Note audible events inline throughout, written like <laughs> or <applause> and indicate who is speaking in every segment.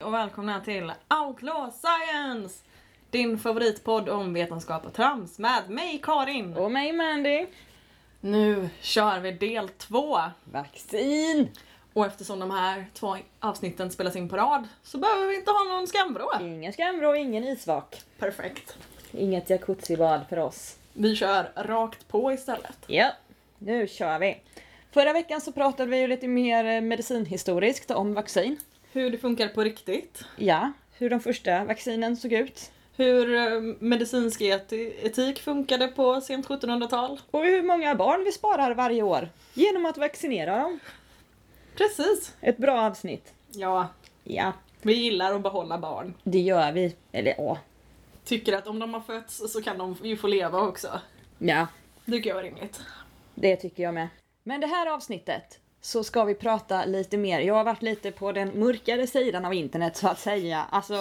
Speaker 1: och välkomna till Outlaw Science! Din favoritpodd om vetenskap och trams med mig Karin.
Speaker 2: Och mig Mandy.
Speaker 1: Nu kör vi del två.
Speaker 2: Vaccin!
Speaker 1: Och eftersom de här två avsnitten spelas in på rad så behöver vi inte ha någon skamvrå.
Speaker 2: Ingen skamvrå, ingen isvak.
Speaker 1: Perfekt.
Speaker 2: Inget jacuzzibad för oss.
Speaker 1: Vi kör rakt på istället.
Speaker 2: Ja, nu kör vi. Förra veckan så pratade vi ju lite mer eh, medicinhistoriskt om vaccin.
Speaker 1: Hur det funkar på riktigt.
Speaker 2: Ja, hur de första vaccinen såg ut.
Speaker 1: Hur eh, medicinsk eti- etik funkade på sent 1700-tal.
Speaker 2: Och hur många barn vi sparar varje år. Genom att vaccinera dem.
Speaker 1: Precis.
Speaker 2: Ett bra avsnitt.
Speaker 1: Ja,
Speaker 2: Ja,
Speaker 1: vi gillar att behålla barn.
Speaker 2: det gör vi. Eller ja.
Speaker 1: Tycker att om de har fötts så kan de ju få leva också.
Speaker 2: Ja,
Speaker 1: Det tycker jag var rimligt.
Speaker 2: Det tycker jag med. Men det här avsnittet så ska vi prata lite mer. Jag har varit lite på den mörkare sidan av internet så att säga. Alltså,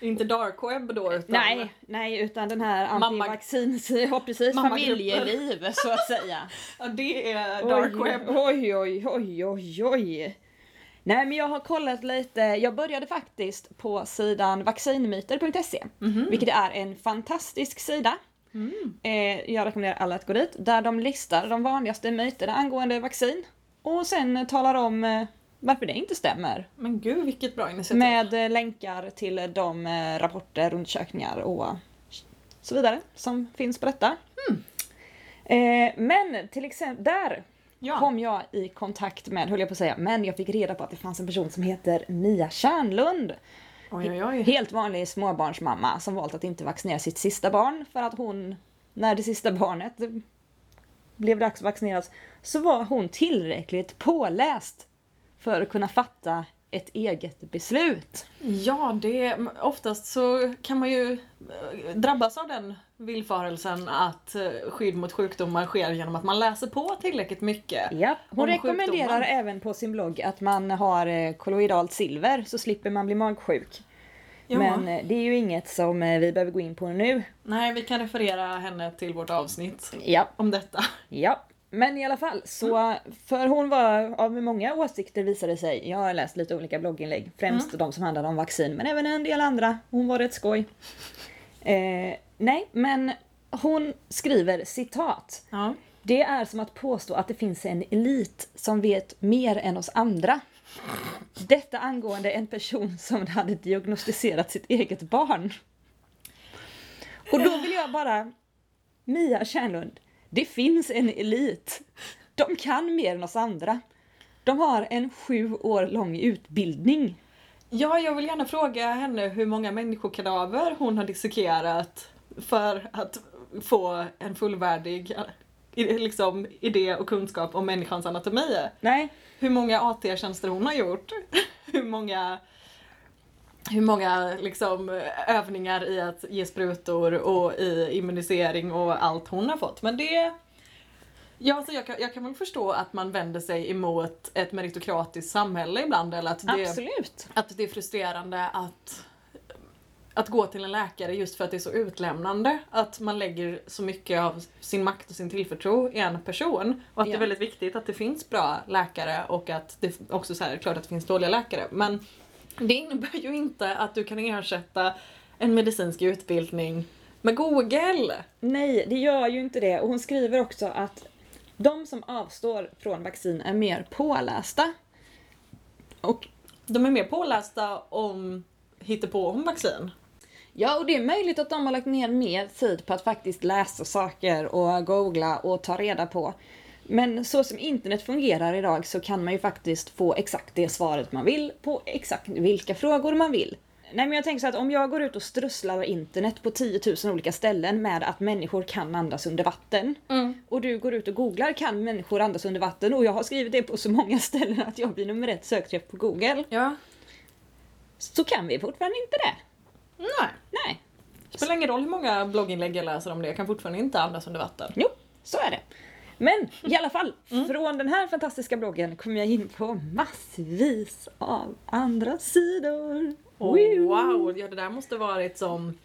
Speaker 1: Inte dark web då utan...
Speaker 2: nej, nej, utan den här
Speaker 1: Mamma-
Speaker 2: antivaccins... <laughs> Ja, precis.
Speaker 1: Mammagrupper.
Speaker 2: Familjeliv så att säga.
Speaker 1: Ja, det är dark
Speaker 2: <laughs> oj,
Speaker 1: web.
Speaker 2: Oj, oj, oj, oj, oj. Nej, men jag har kollat lite. Jag började faktiskt på sidan vaccinmyter.se, vilket är en fantastisk sida. Eh, jag rekommenderar alla att gå dit, där de listar de vanligaste myterna angående vaccin och sen eh, talar om eh, varför det inte stämmer.
Speaker 1: Men gud vilket bra initiativ.
Speaker 2: Med eh, länkar till eh, de eh, rapporter, undersökningar och så vidare som finns på detta. Eh, men till exempel, där
Speaker 1: ja.
Speaker 2: kom jag i kontakt med, höll jag på att säga, men jag fick reda på att det fanns en person som heter Mia Kärnlund.
Speaker 1: Oj, oj, oj.
Speaker 2: Helt vanlig småbarnsmamma som valt att inte vaccinera sitt sista barn för att hon, när det sista barnet blev dags att vaccineras, så var hon tillräckligt påläst för att kunna fatta ett eget beslut.
Speaker 1: Ja, det, oftast så kan man ju eh, drabbas av den villfarelsen att eh, skydd mot sjukdomar sker genom att man läser på tillräckligt mycket.
Speaker 2: Ja, hon
Speaker 1: Om
Speaker 2: rekommenderar
Speaker 1: sjukdomen.
Speaker 2: även på sin blogg att man har eh, kolloidalt silver så slipper man bli magsjuk.
Speaker 1: Ja.
Speaker 2: Men eh, det är ju inget som eh, vi behöver gå in på nu.
Speaker 1: Nej, vi kan referera henne till vårt avsnitt
Speaker 2: Ja,
Speaker 1: om detta.
Speaker 2: Ja, men i alla fall så, för hon var av många åsikter visade det sig. Jag har läst lite olika blogginlägg, främst de som handlade om vaccin, men även en del andra. Hon var rätt skoj. Eh, nej, men hon skriver citat.
Speaker 1: Ja.
Speaker 2: Det är som att påstå att det finns en elit som vet mer än oss andra. Detta angående en person som hade diagnostiserat sitt eget barn. Och då vill jag bara... Mia Kärnlund, det finns en elit. De kan mer än oss andra. De har en sju år lång utbildning.
Speaker 1: ja, jag vill gärna fråga henne hur många människokadaver hon har dissekerat för att få en fullvärdig eh, i- liksom, idé och kunskap om människans anatomi.
Speaker 2: Nej,
Speaker 1: hur många AT-tjänster hon har gjort. <laughs> Hur många, hur många liksom, övningar i att ge sprutor och i immunisering och allt hon har fått. Men det... Ja, alltså jag, kan, jag kan väl förstå att man vänder sig emot ett meritokratiskt samhälle ibland eller att det,
Speaker 2: absolut.
Speaker 1: att det är frustrerande att, att gå till en läkare just för att det är så utlämnande. Att man lägger så mycket av sin makt och sin tillförtro i en person. Och att det
Speaker 2: Ja.
Speaker 1: är väldigt viktigt att det finns bra läkare och att det också så här, klart att det finns dåliga läkare. Men det innebär ju inte att du kan ersätta en medicinsk utbildning med Google.
Speaker 2: Nej, det gör ju inte det. Och hon skriver också att de som avstår från vaccin är mer pålästa. Och,
Speaker 1: De är mer pålästa om på om vaccin.
Speaker 2: ja, och det är möjligt att de har lagt ner mer tid på att faktiskt läsa saker och googla och ta reda på. Men så som internet fungerar idag så kan man ju faktiskt få exakt det svaret man vill på exakt vilka frågor man vill. Nej men jag tänker så att om jag går ut och strösslar internet på 10 000 olika ställen med att människor kan andas under vatten. och du går ut och googlar kan människor andas under vatten och jag har skrivit det på så många <laughs> ställen att jag blir nummer ett sökträff på google.
Speaker 1: Ja.
Speaker 2: Så kan vi fortfarande inte det.
Speaker 1: Nej.
Speaker 2: Nej.
Speaker 1: Spelar ingen roll hur många blogginlägg jag läser om det, jag kan fortfarande inte andas under vatten.
Speaker 2: Jo, så är det. Men i alla fall, från den här fantastiska bloggen kommer jag in på massvis av andra sidor.
Speaker 1: Oh, wow, ja, det där måste varit som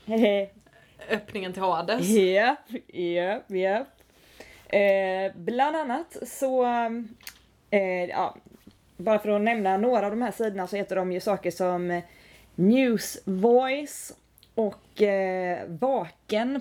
Speaker 1: öppningen till Hades.
Speaker 2: <laughs> Japp, japp, japp. Eh, bland annat så, eh, ja, bara för att nämna några av de här sidorna så heter de ju saker som News Voice och eh,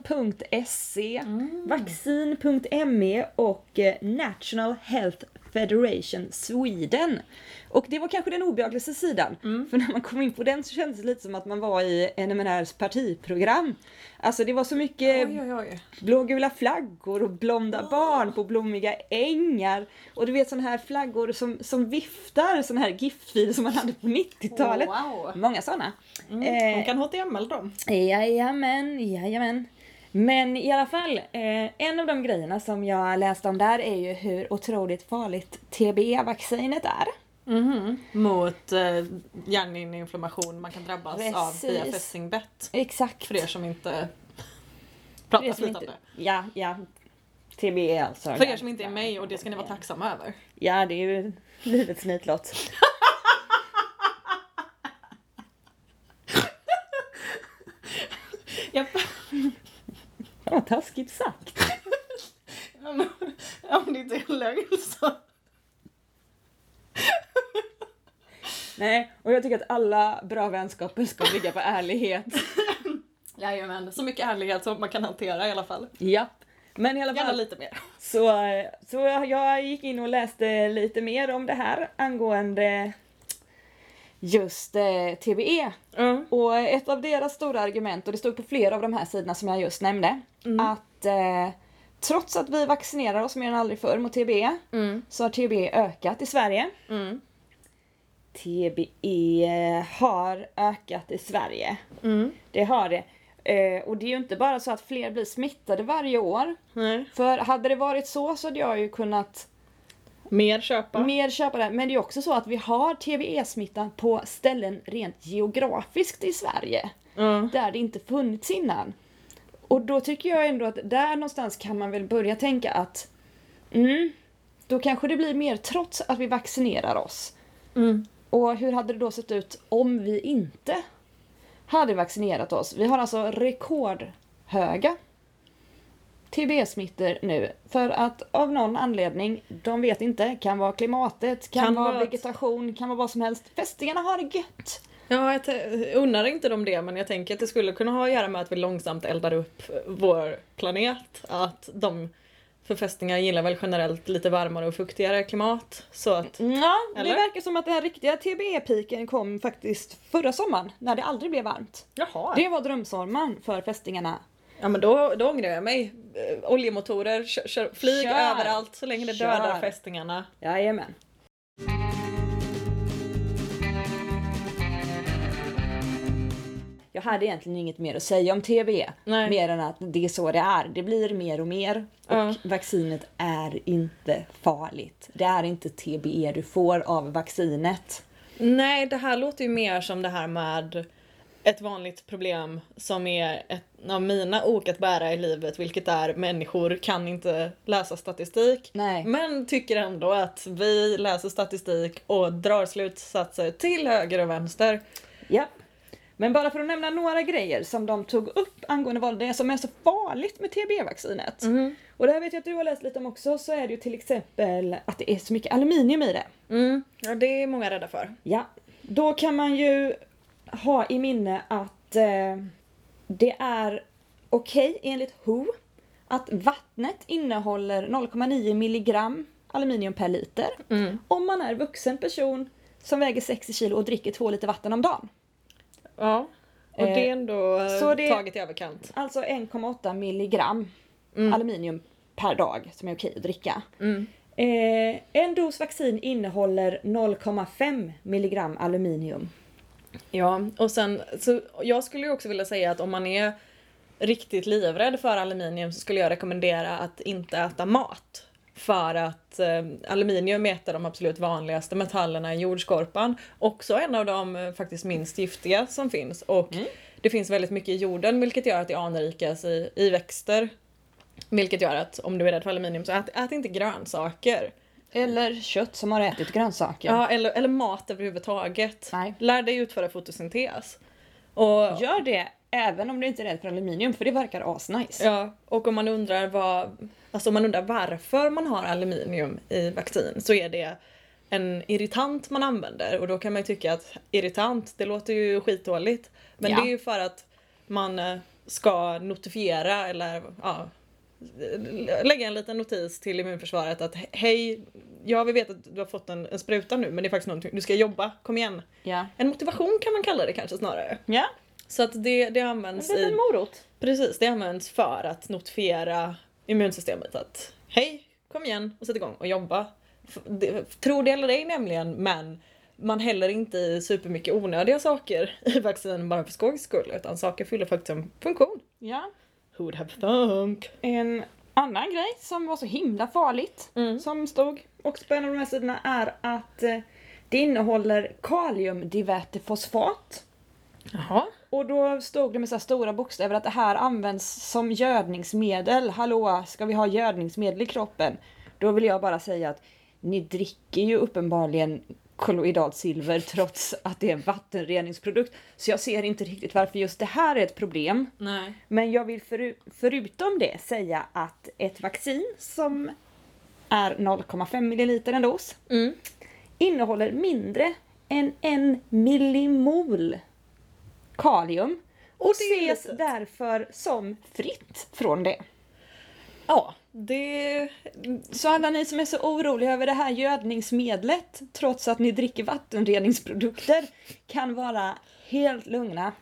Speaker 2: vaken.se, vaccin.me och eh, National Health Federation Sweden. Och det var kanske den obehagligaste sidan. För när man kom in på den så kändes det lite som att man var i NMRs partiprogram. Alltså det var så mycket
Speaker 1: Oj, oj, oj.
Speaker 2: blågula flaggor och blonda barn på blommiga ängar. Och du vet sådana här flaggor som, som viftar, sådana här giftfiler som man hade på 90-talet.
Speaker 1: Wow.
Speaker 2: Många sådana.
Speaker 1: Mm. Man kan HTML dem.
Speaker 2: Jajamän, jajamän. Men i alla fall, eh, en av de grejerna som jag läste om där är ju hur otroligt farligt TBE-vaccinet är.
Speaker 1: Mot eh, hjärninflammation man kan drabbas av via
Speaker 2: Precis.
Speaker 1: fästingbett.
Speaker 2: Exakt.
Speaker 1: För er som inte pratar
Speaker 2: som
Speaker 1: flytande.
Speaker 2: inte, ja, ja. TBE alltså.
Speaker 1: För er som inte är mig och det ska ni vara tacksamma över.
Speaker 2: Ja, det är ju livets nitlott.
Speaker 1: Japp. <laughs>
Speaker 2: Ja, Vad taskigt sagt.
Speaker 1: Om om det inte är lögn så.
Speaker 2: Nej, och jag tycker att alla bra vänskaper ska bygga på <laughs> ärlighet.
Speaker 1: Jajamän, så mycket ärlighet som man kan hantera i alla fall.
Speaker 2: Japp. Men i alla
Speaker 1: Gärna
Speaker 2: fall,
Speaker 1: lite mer.
Speaker 2: så, eh, så jag gick in och läste lite mer om det här angående just eh, TBE. Och ett av deras stora argument, och det stod på flera av de här sidorna som jag just nämnde, att eh, trots att vi vaccinerar oss mer än aldrig förr mot TBE,
Speaker 1: Mm,
Speaker 2: så har TBE ökat i Sverige. TBE E har ökat i Sverige.
Speaker 1: mm.
Speaker 2: Det har det. Eh, och det är ju inte bara så att fler blir smittade varje år.
Speaker 1: Nej.
Speaker 2: För hade det varit så så hade jag ju kunnat
Speaker 1: Mer köpa.
Speaker 2: mer köpa det. Men det är ju också så att vi har TBE-smittan på ställen rent geografiskt i Sverige.
Speaker 1: Ja.
Speaker 2: Där det inte funnits innan. Och då tycker jag ändå att där någonstans kan man väl börja tänka att mm, då kanske det blir mer trots att vi vaccinerar oss.
Speaker 1: Mm.
Speaker 2: Och hur hade det då sett ut om vi inte hade vaccinerat oss? Vi har alltså rekordhöga TB-smittor nu för att av någon anledning, de vet inte, kan vara klimatet, kan,
Speaker 1: Kan
Speaker 2: vara
Speaker 1: vara att-
Speaker 2: vegetation, kan vara vad som helst. Fästingarna har det gött!
Speaker 1: Ja, jag te- undrar inte dem det, men jag tänker att det skulle kunna ha att göra med att vi långsamt eldar upp vår planet. Att de, för fästingar gillar väl generellt lite varmare och fuktigare klimat. Så att,
Speaker 2: Ja,
Speaker 1: Eller?
Speaker 2: det verkar som att den här riktiga TBE-piken kom faktiskt förra sommaren när det aldrig blev varmt.
Speaker 1: jaha.
Speaker 2: Det var drömsommaren för fästingarna.
Speaker 1: Ja men då, då ångrar jag mig. Eh, Oljemotorer, kör, kör, flyg
Speaker 2: Kör!
Speaker 1: överallt så länge det
Speaker 2: Kör!
Speaker 1: dödar fästingarna.
Speaker 2: Jajamän. Jag hade egentligen inget mer att säga om TBE,
Speaker 1: Nej.
Speaker 2: mer än att det är så det är. Det blir mer och mer och
Speaker 1: Ja.
Speaker 2: vaccinet är inte farligt. Det är inte TBE du får av vaccinet.
Speaker 1: Nej, det här låter ju mer som det här med ett vanligt problem som är ett av mina ok att bära i livet, vilket är människor kan inte läsa statistik.
Speaker 2: Nej.
Speaker 1: Men tycker ändå att vi läser statistik och drar slutsatser till höger och vänster.
Speaker 2: Ja. Men bara för att nämna några grejer som de tog upp angående vad det är som är så farligt med TB-vaccinet.
Speaker 1: Mhm.
Speaker 2: Och det här vet jag att du har läst lite om också, så är det ju till exempel att det är så mycket aluminium i det.
Speaker 1: Mm. Ja, det är många rädda för.
Speaker 2: Ja. Då kan man ju ha i minne att eh, det är okej enligt WHO att vattnet innehåller 0,9 milligram aluminium per liter om man är vuxen person som väger 60 kilo och dricker 2 liter vatten om dagen.
Speaker 1: Ja. Och
Speaker 2: Eh,
Speaker 1: det är ändå eh,
Speaker 2: så det-
Speaker 1: taget i överkant.
Speaker 2: Alltså 1,8 milligram Mm. aluminium per dag som är okej att dricka. Eh, en dos vaccin innehåller 0,5 milligram aluminium.
Speaker 1: Ja, och sen så jag skulle ju också vilja säga att om man är riktigt livrädd för aluminium så skulle jag rekommendera att inte äta mat. För att eh, aluminium är ett av de absolut vanligaste metallerna i jordskorpan. Också en av de eh, faktiskt minst giftiga som finns. Och det finns väldigt mycket i jorden vilket gör att det anrikas i, i växter. Vilket gör att om du är rädd för aluminium så ät, ät inte grönsaker.
Speaker 2: Eller kött som har ätit grönsaker.
Speaker 1: Ja, eller, eller mat överhuvudtaget.
Speaker 2: Nej.
Speaker 1: Lär dig utföra fotosyntes. Och,
Speaker 2: Gör det även om du inte är rädd för aluminium för det verkar asnice.
Speaker 1: Ja, och om man undrar vad, alltså om man undrar varför man har aluminium i vaccin så är det en irritant man använder och då kan man ju tycka att irritant, det låter ju skitdåligt. Men
Speaker 2: Ja.
Speaker 1: det är ju för att man eh, ska notifiera eller ja, lä- lägga en liten notis till immunförsvaret att hej, ja vi vet att du har fått en, en spruta nu men det är faktiskt någonting, du ska jobba, kom igen.
Speaker 2: Ja.
Speaker 1: En motivation kan man kalla det kanske snarare.
Speaker 2: Ja,
Speaker 1: Så att det, det
Speaker 2: en
Speaker 1: används i
Speaker 2: liten morot.
Speaker 1: Precis, det används för att notifiera immunsystemet att hej, kom igen och sätt igång och jobba. F- det- Tro det eller ej nämligen, men man häller inte i supermycket onödiga saker i vaccin bara för skojs skull, utan saker fyller faktiskt en funktion.
Speaker 2: Ja.
Speaker 1: Who would have thunk?
Speaker 2: En annan grej som var så himla farligt,
Speaker 1: Mm.
Speaker 2: som stod också på en av de här sidorna, är att eh, det innehåller kaliumdivätefosfat.
Speaker 1: Jaha.
Speaker 2: Och då stod det med så här stora bokstäver att det här används som gödningsmedel. Hallå, ska vi ha gödningsmedel i kroppen? Då vill jag bara säga att ni dricker ju uppenbarligen kolloidalt silver trots att det är en vattenreningsprodukt. Så jag ser inte riktigt varför just det här är ett problem.
Speaker 1: Nej.
Speaker 2: Men jag vill föru- förutom det säga att ett vaccin som är 0,5 milliliter en dos
Speaker 1: Mm.
Speaker 2: innehåller mindre än en millimol kalium och
Speaker 1: det är
Speaker 2: ses
Speaker 1: litet.
Speaker 2: därför som fritt från det.
Speaker 1: Ja, det...
Speaker 2: Så alla ni som är så oroliga över det här gödningsmedlet trots att ni dricker vattenreningsprodukter kan vara helt lugna.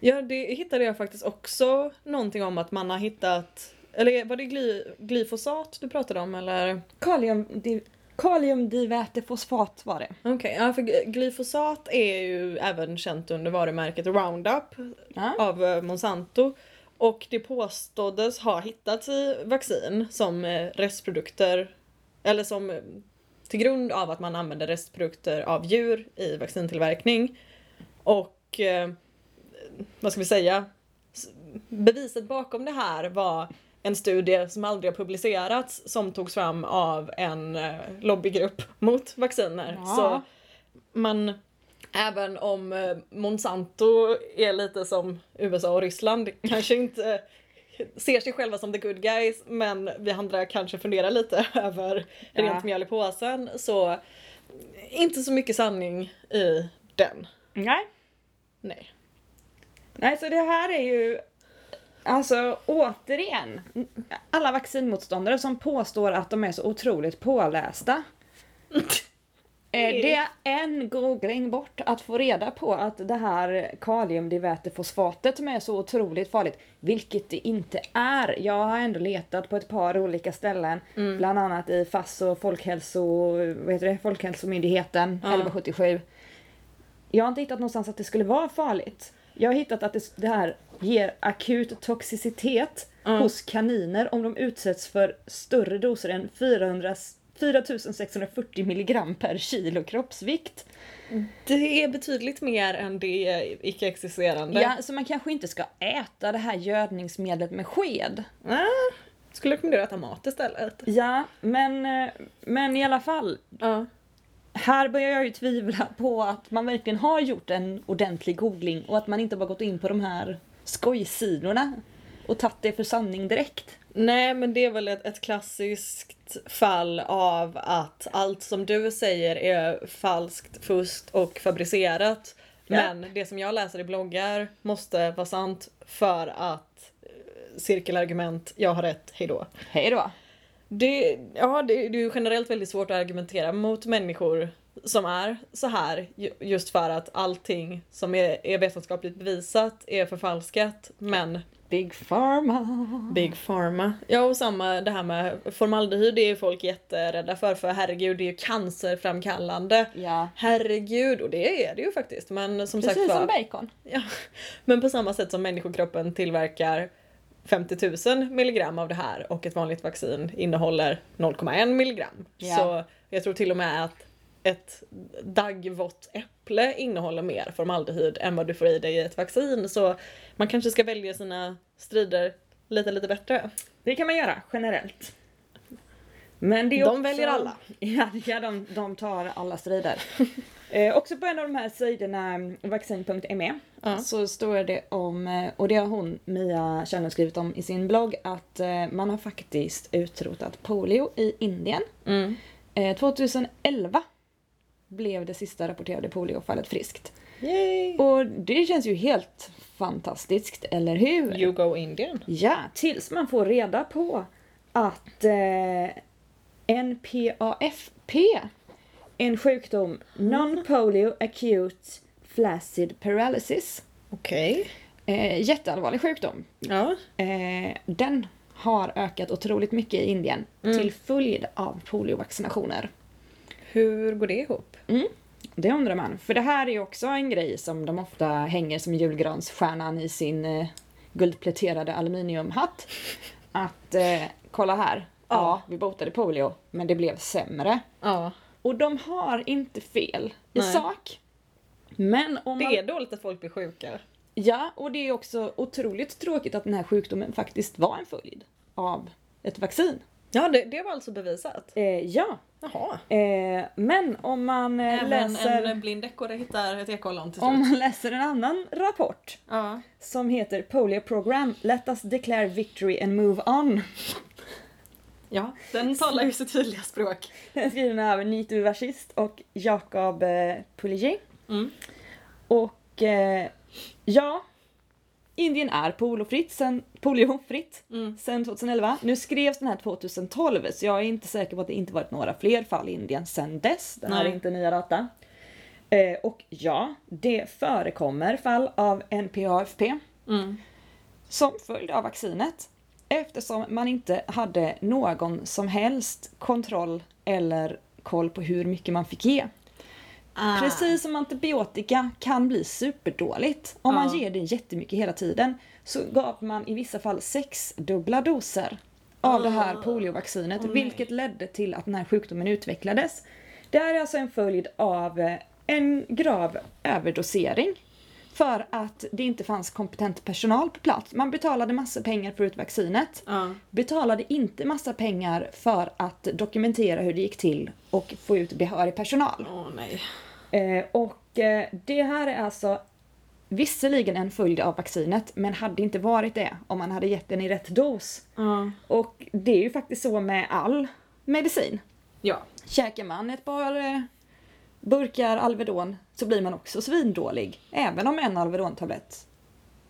Speaker 1: Ja, det hittade jag faktiskt också någonting om att man har hittat... Eller var det gly, glyfosat du pratade om eller?
Speaker 2: Kalium, di- kaliumdivätefosfat var det.
Speaker 1: Okej, ja, för gly- glyfosat är ju även känt under varumärket Roundup
Speaker 2: Ja.
Speaker 1: av eh, Monsanto. Och det påståddes ha hittats i vaccin som eh, restprodukter, eller som eh, till grund av att man använder restprodukter av djur i vaccintillverkning. Och eh, vad ska vi säga? S- Beviset bakom det här var en studie som aldrig har publicerats som togs fram av en eh, lobbygrupp mot vacciner.
Speaker 2: Ja.
Speaker 1: Så man, även om eh, Monsanto är lite som USA och Ryssland, kanske inte eh, ser sig själva som the good guys, men vi andra kanske funderar lite <laughs> över
Speaker 2: Ja.
Speaker 1: rent mjöl i påsen, så inte så mycket sanning i den.
Speaker 2: Nej.
Speaker 1: Nej.
Speaker 2: Nej, så det här är ju Alltså återigen, alla vaccinmotståndare som påstår att de är så otroligt pålästa. eh, Det är en googling bort att få reda på att det här kaliumdivätefosfatet som är så otroligt farligt, vilket det inte är. Jag har ändå letat på ett par olika ställen, bland annat i FASS och folkhälso, vad heter det? Folkhälsomyndigheten,
Speaker 1: Ja.
Speaker 2: 1177. Jag har inte hittat någonstans att det skulle vara farligt. Jag har hittat att det, det här ger akut toxicitet
Speaker 1: Mm.
Speaker 2: hos kaniner om de utsätts för större doser än 400, 4640 milligram per kilo kroppsvikt.
Speaker 1: Det är betydligt mer än det icke-existerande.
Speaker 2: Ja, så man kanske inte ska äta det här gödningsmedlet med sked.
Speaker 1: Ah, skulle rekommendera att äta mat istället.
Speaker 2: Ja, men, eh, men i alla fall.
Speaker 1: Ja.
Speaker 2: Här börjar jag ju tvivla på att man verkligen har gjort en ordentlig googling och att man inte bara gått in på de här skojsidorna och tagit det för sanning direkt.
Speaker 1: Nej men det är väl ett, ett klassiskt fall av att allt som du säger är falskt, fusk och fabricerat.
Speaker 2: Ja.
Speaker 1: Men det som jag läser i bloggar måste vara sant för att eh, cirkelargument, jag har rätt, hejdå.
Speaker 2: Hej då.
Speaker 1: Det, ja, det, det är ju generellt väldigt svårt att argumentera mot människor som är så här ju- just för att allting som är, är vetenskapligt bevisat är förfalskat men
Speaker 2: Big Pharma. Mm.
Speaker 1: Big Pharma. Ja och samma det här med formaldehyd det är ju folk jätterädda för för herregud det är ju cancerframkallande.
Speaker 2: Ja.
Speaker 1: Herregud och det är det ju faktiskt men som
Speaker 2: Precis
Speaker 1: sagt var.
Speaker 2: som bacon.
Speaker 1: Ja, men på samma sätt som människokroppen tillverkar 50 000 milligram av det här och ett vanligt vaccin innehåller 0,1 milligram.
Speaker 2: Ja.
Speaker 1: Så jag tror till och med att ett daggvått äpple innehåller mer formaldehyd än vad du får i dig i ett vaccin. Så man kanske ska välja sina strider lite, lite bättre.
Speaker 2: Det kan man göra generellt. Men det är
Speaker 1: De
Speaker 2: också...
Speaker 1: väljer alla.
Speaker 2: <laughs> Ja, ja de, de tar
Speaker 1: <laughs>
Speaker 2: alla strider. eh, också på en av de här sidorna, mm, vaccin.me,
Speaker 1: Ja.
Speaker 2: så står det om, eh, och det har hon, Mia Kärnlund, skrivit om i sin blogg, att eh, man har faktiskt utrotat polio i Indien.
Speaker 1: Mm.
Speaker 2: Eh, 2011 blev det sista rapporterade poliofallet friskt.
Speaker 1: Yay!
Speaker 2: Och det känns ju helt fantastiskt, eller hur?
Speaker 1: You go Indian.
Speaker 2: Ja, tills man får reda på att eh, NPAFP, en sjukdom, Non-Polio Acute Flaccid Paralysis,
Speaker 1: Okej.
Speaker 2: eh, jätteallvarlig sjukdom.
Speaker 1: Ja.
Speaker 2: Eh, den har ökat otroligt mycket i Indien till följd av poliovaccinationer.
Speaker 1: Hur går det ihop?
Speaker 2: Mm. Det undrar man. För det här är ju också en grej som de ofta hänger som julgransstjärnan i sin eh, guldpläterade aluminiumhatt. Att eh, kolla här. Ja, vi botade polio, men det blev sämre.
Speaker 1: Ja.
Speaker 2: Och de har inte fel i
Speaker 1: Nej.
Speaker 2: sak. Men om
Speaker 1: Det
Speaker 2: man...
Speaker 1: är dåligt att folk blir sjuka.
Speaker 2: Ja, och det är också otroligt tråkigt att den här sjukdomen faktiskt var en följd av ett vaccin.
Speaker 1: Ja, det, det var alltså bevisat.
Speaker 2: Eh, ja,
Speaker 1: Jaha.
Speaker 2: eh, men om man eh,
Speaker 1: Även
Speaker 2: läser...
Speaker 1: en blind ekorre hittar ett ekollon till slut.
Speaker 2: Om man läser en annan rapport
Speaker 1: Ja.
Speaker 2: som heter Polio Program Let us declare victory and move on. <laughs>
Speaker 1: ja, den talar ju sitt tydliga språk.
Speaker 2: Den är skriven av Nitu Versist och Jakob eh, Pulici.
Speaker 1: Mm.
Speaker 2: Och eh, ja, Indien är polofritt sen, poliofritt
Speaker 1: Mm.
Speaker 2: sen 2011. Nu skrevs den här 2012 så jag är inte säker på att det inte varit några fler fall i Indien sen dess. Det här är
Speaker 1: Nej.
Speaker 2: inte nya data. Eh, och ja, det förekommer fall av NPAFP.
Speaker 1: Mm.
Speaker 2: som följd av vaccinet eftersom man inte hade någon som helst kontroll eller koll på hur mycket man fick ge.
Speaker 1: Ah.
Speaker 2: Precis som antibiotika kan bli superdåligt. Om
Speaker 1: Ja.
Speaker 2: man ger det jättemycket hela tiden så gav man i vissa fall sexdubbla doser av det här
Speaker 1: Ah.
Speaker 2: poliovaccinet
Speaker 1: Åh, nej.
Speaker 2: vilket ledde till att den här sjukdomen utvecklades. Det här är alltså en följd av eh, en grav överdosering för att det inte fanns kompetent personal på plats. Man betalade massa pengar för ut vaccinet
Speaker 1: Ja.
Speaker 2: betalade inte massa pengar för att dokumentera hur det gick till och få ut behörig personal.
Speaker 1: Åh nej.
Speaker 2: Eh, och eh, det här är alltså visserligen en följd av vaccinet, men hade inte varit det om man hade gett den i rätt dos.
Speaker 1: Ja.
Speaker 2: Och det är ju faktiskt så med all medicin.
Speaker 1: Ja.
Speaker 2: Käkar man ett par eh, burkar Alvedon så blir man också svindålig, även om en Alvedon-tablett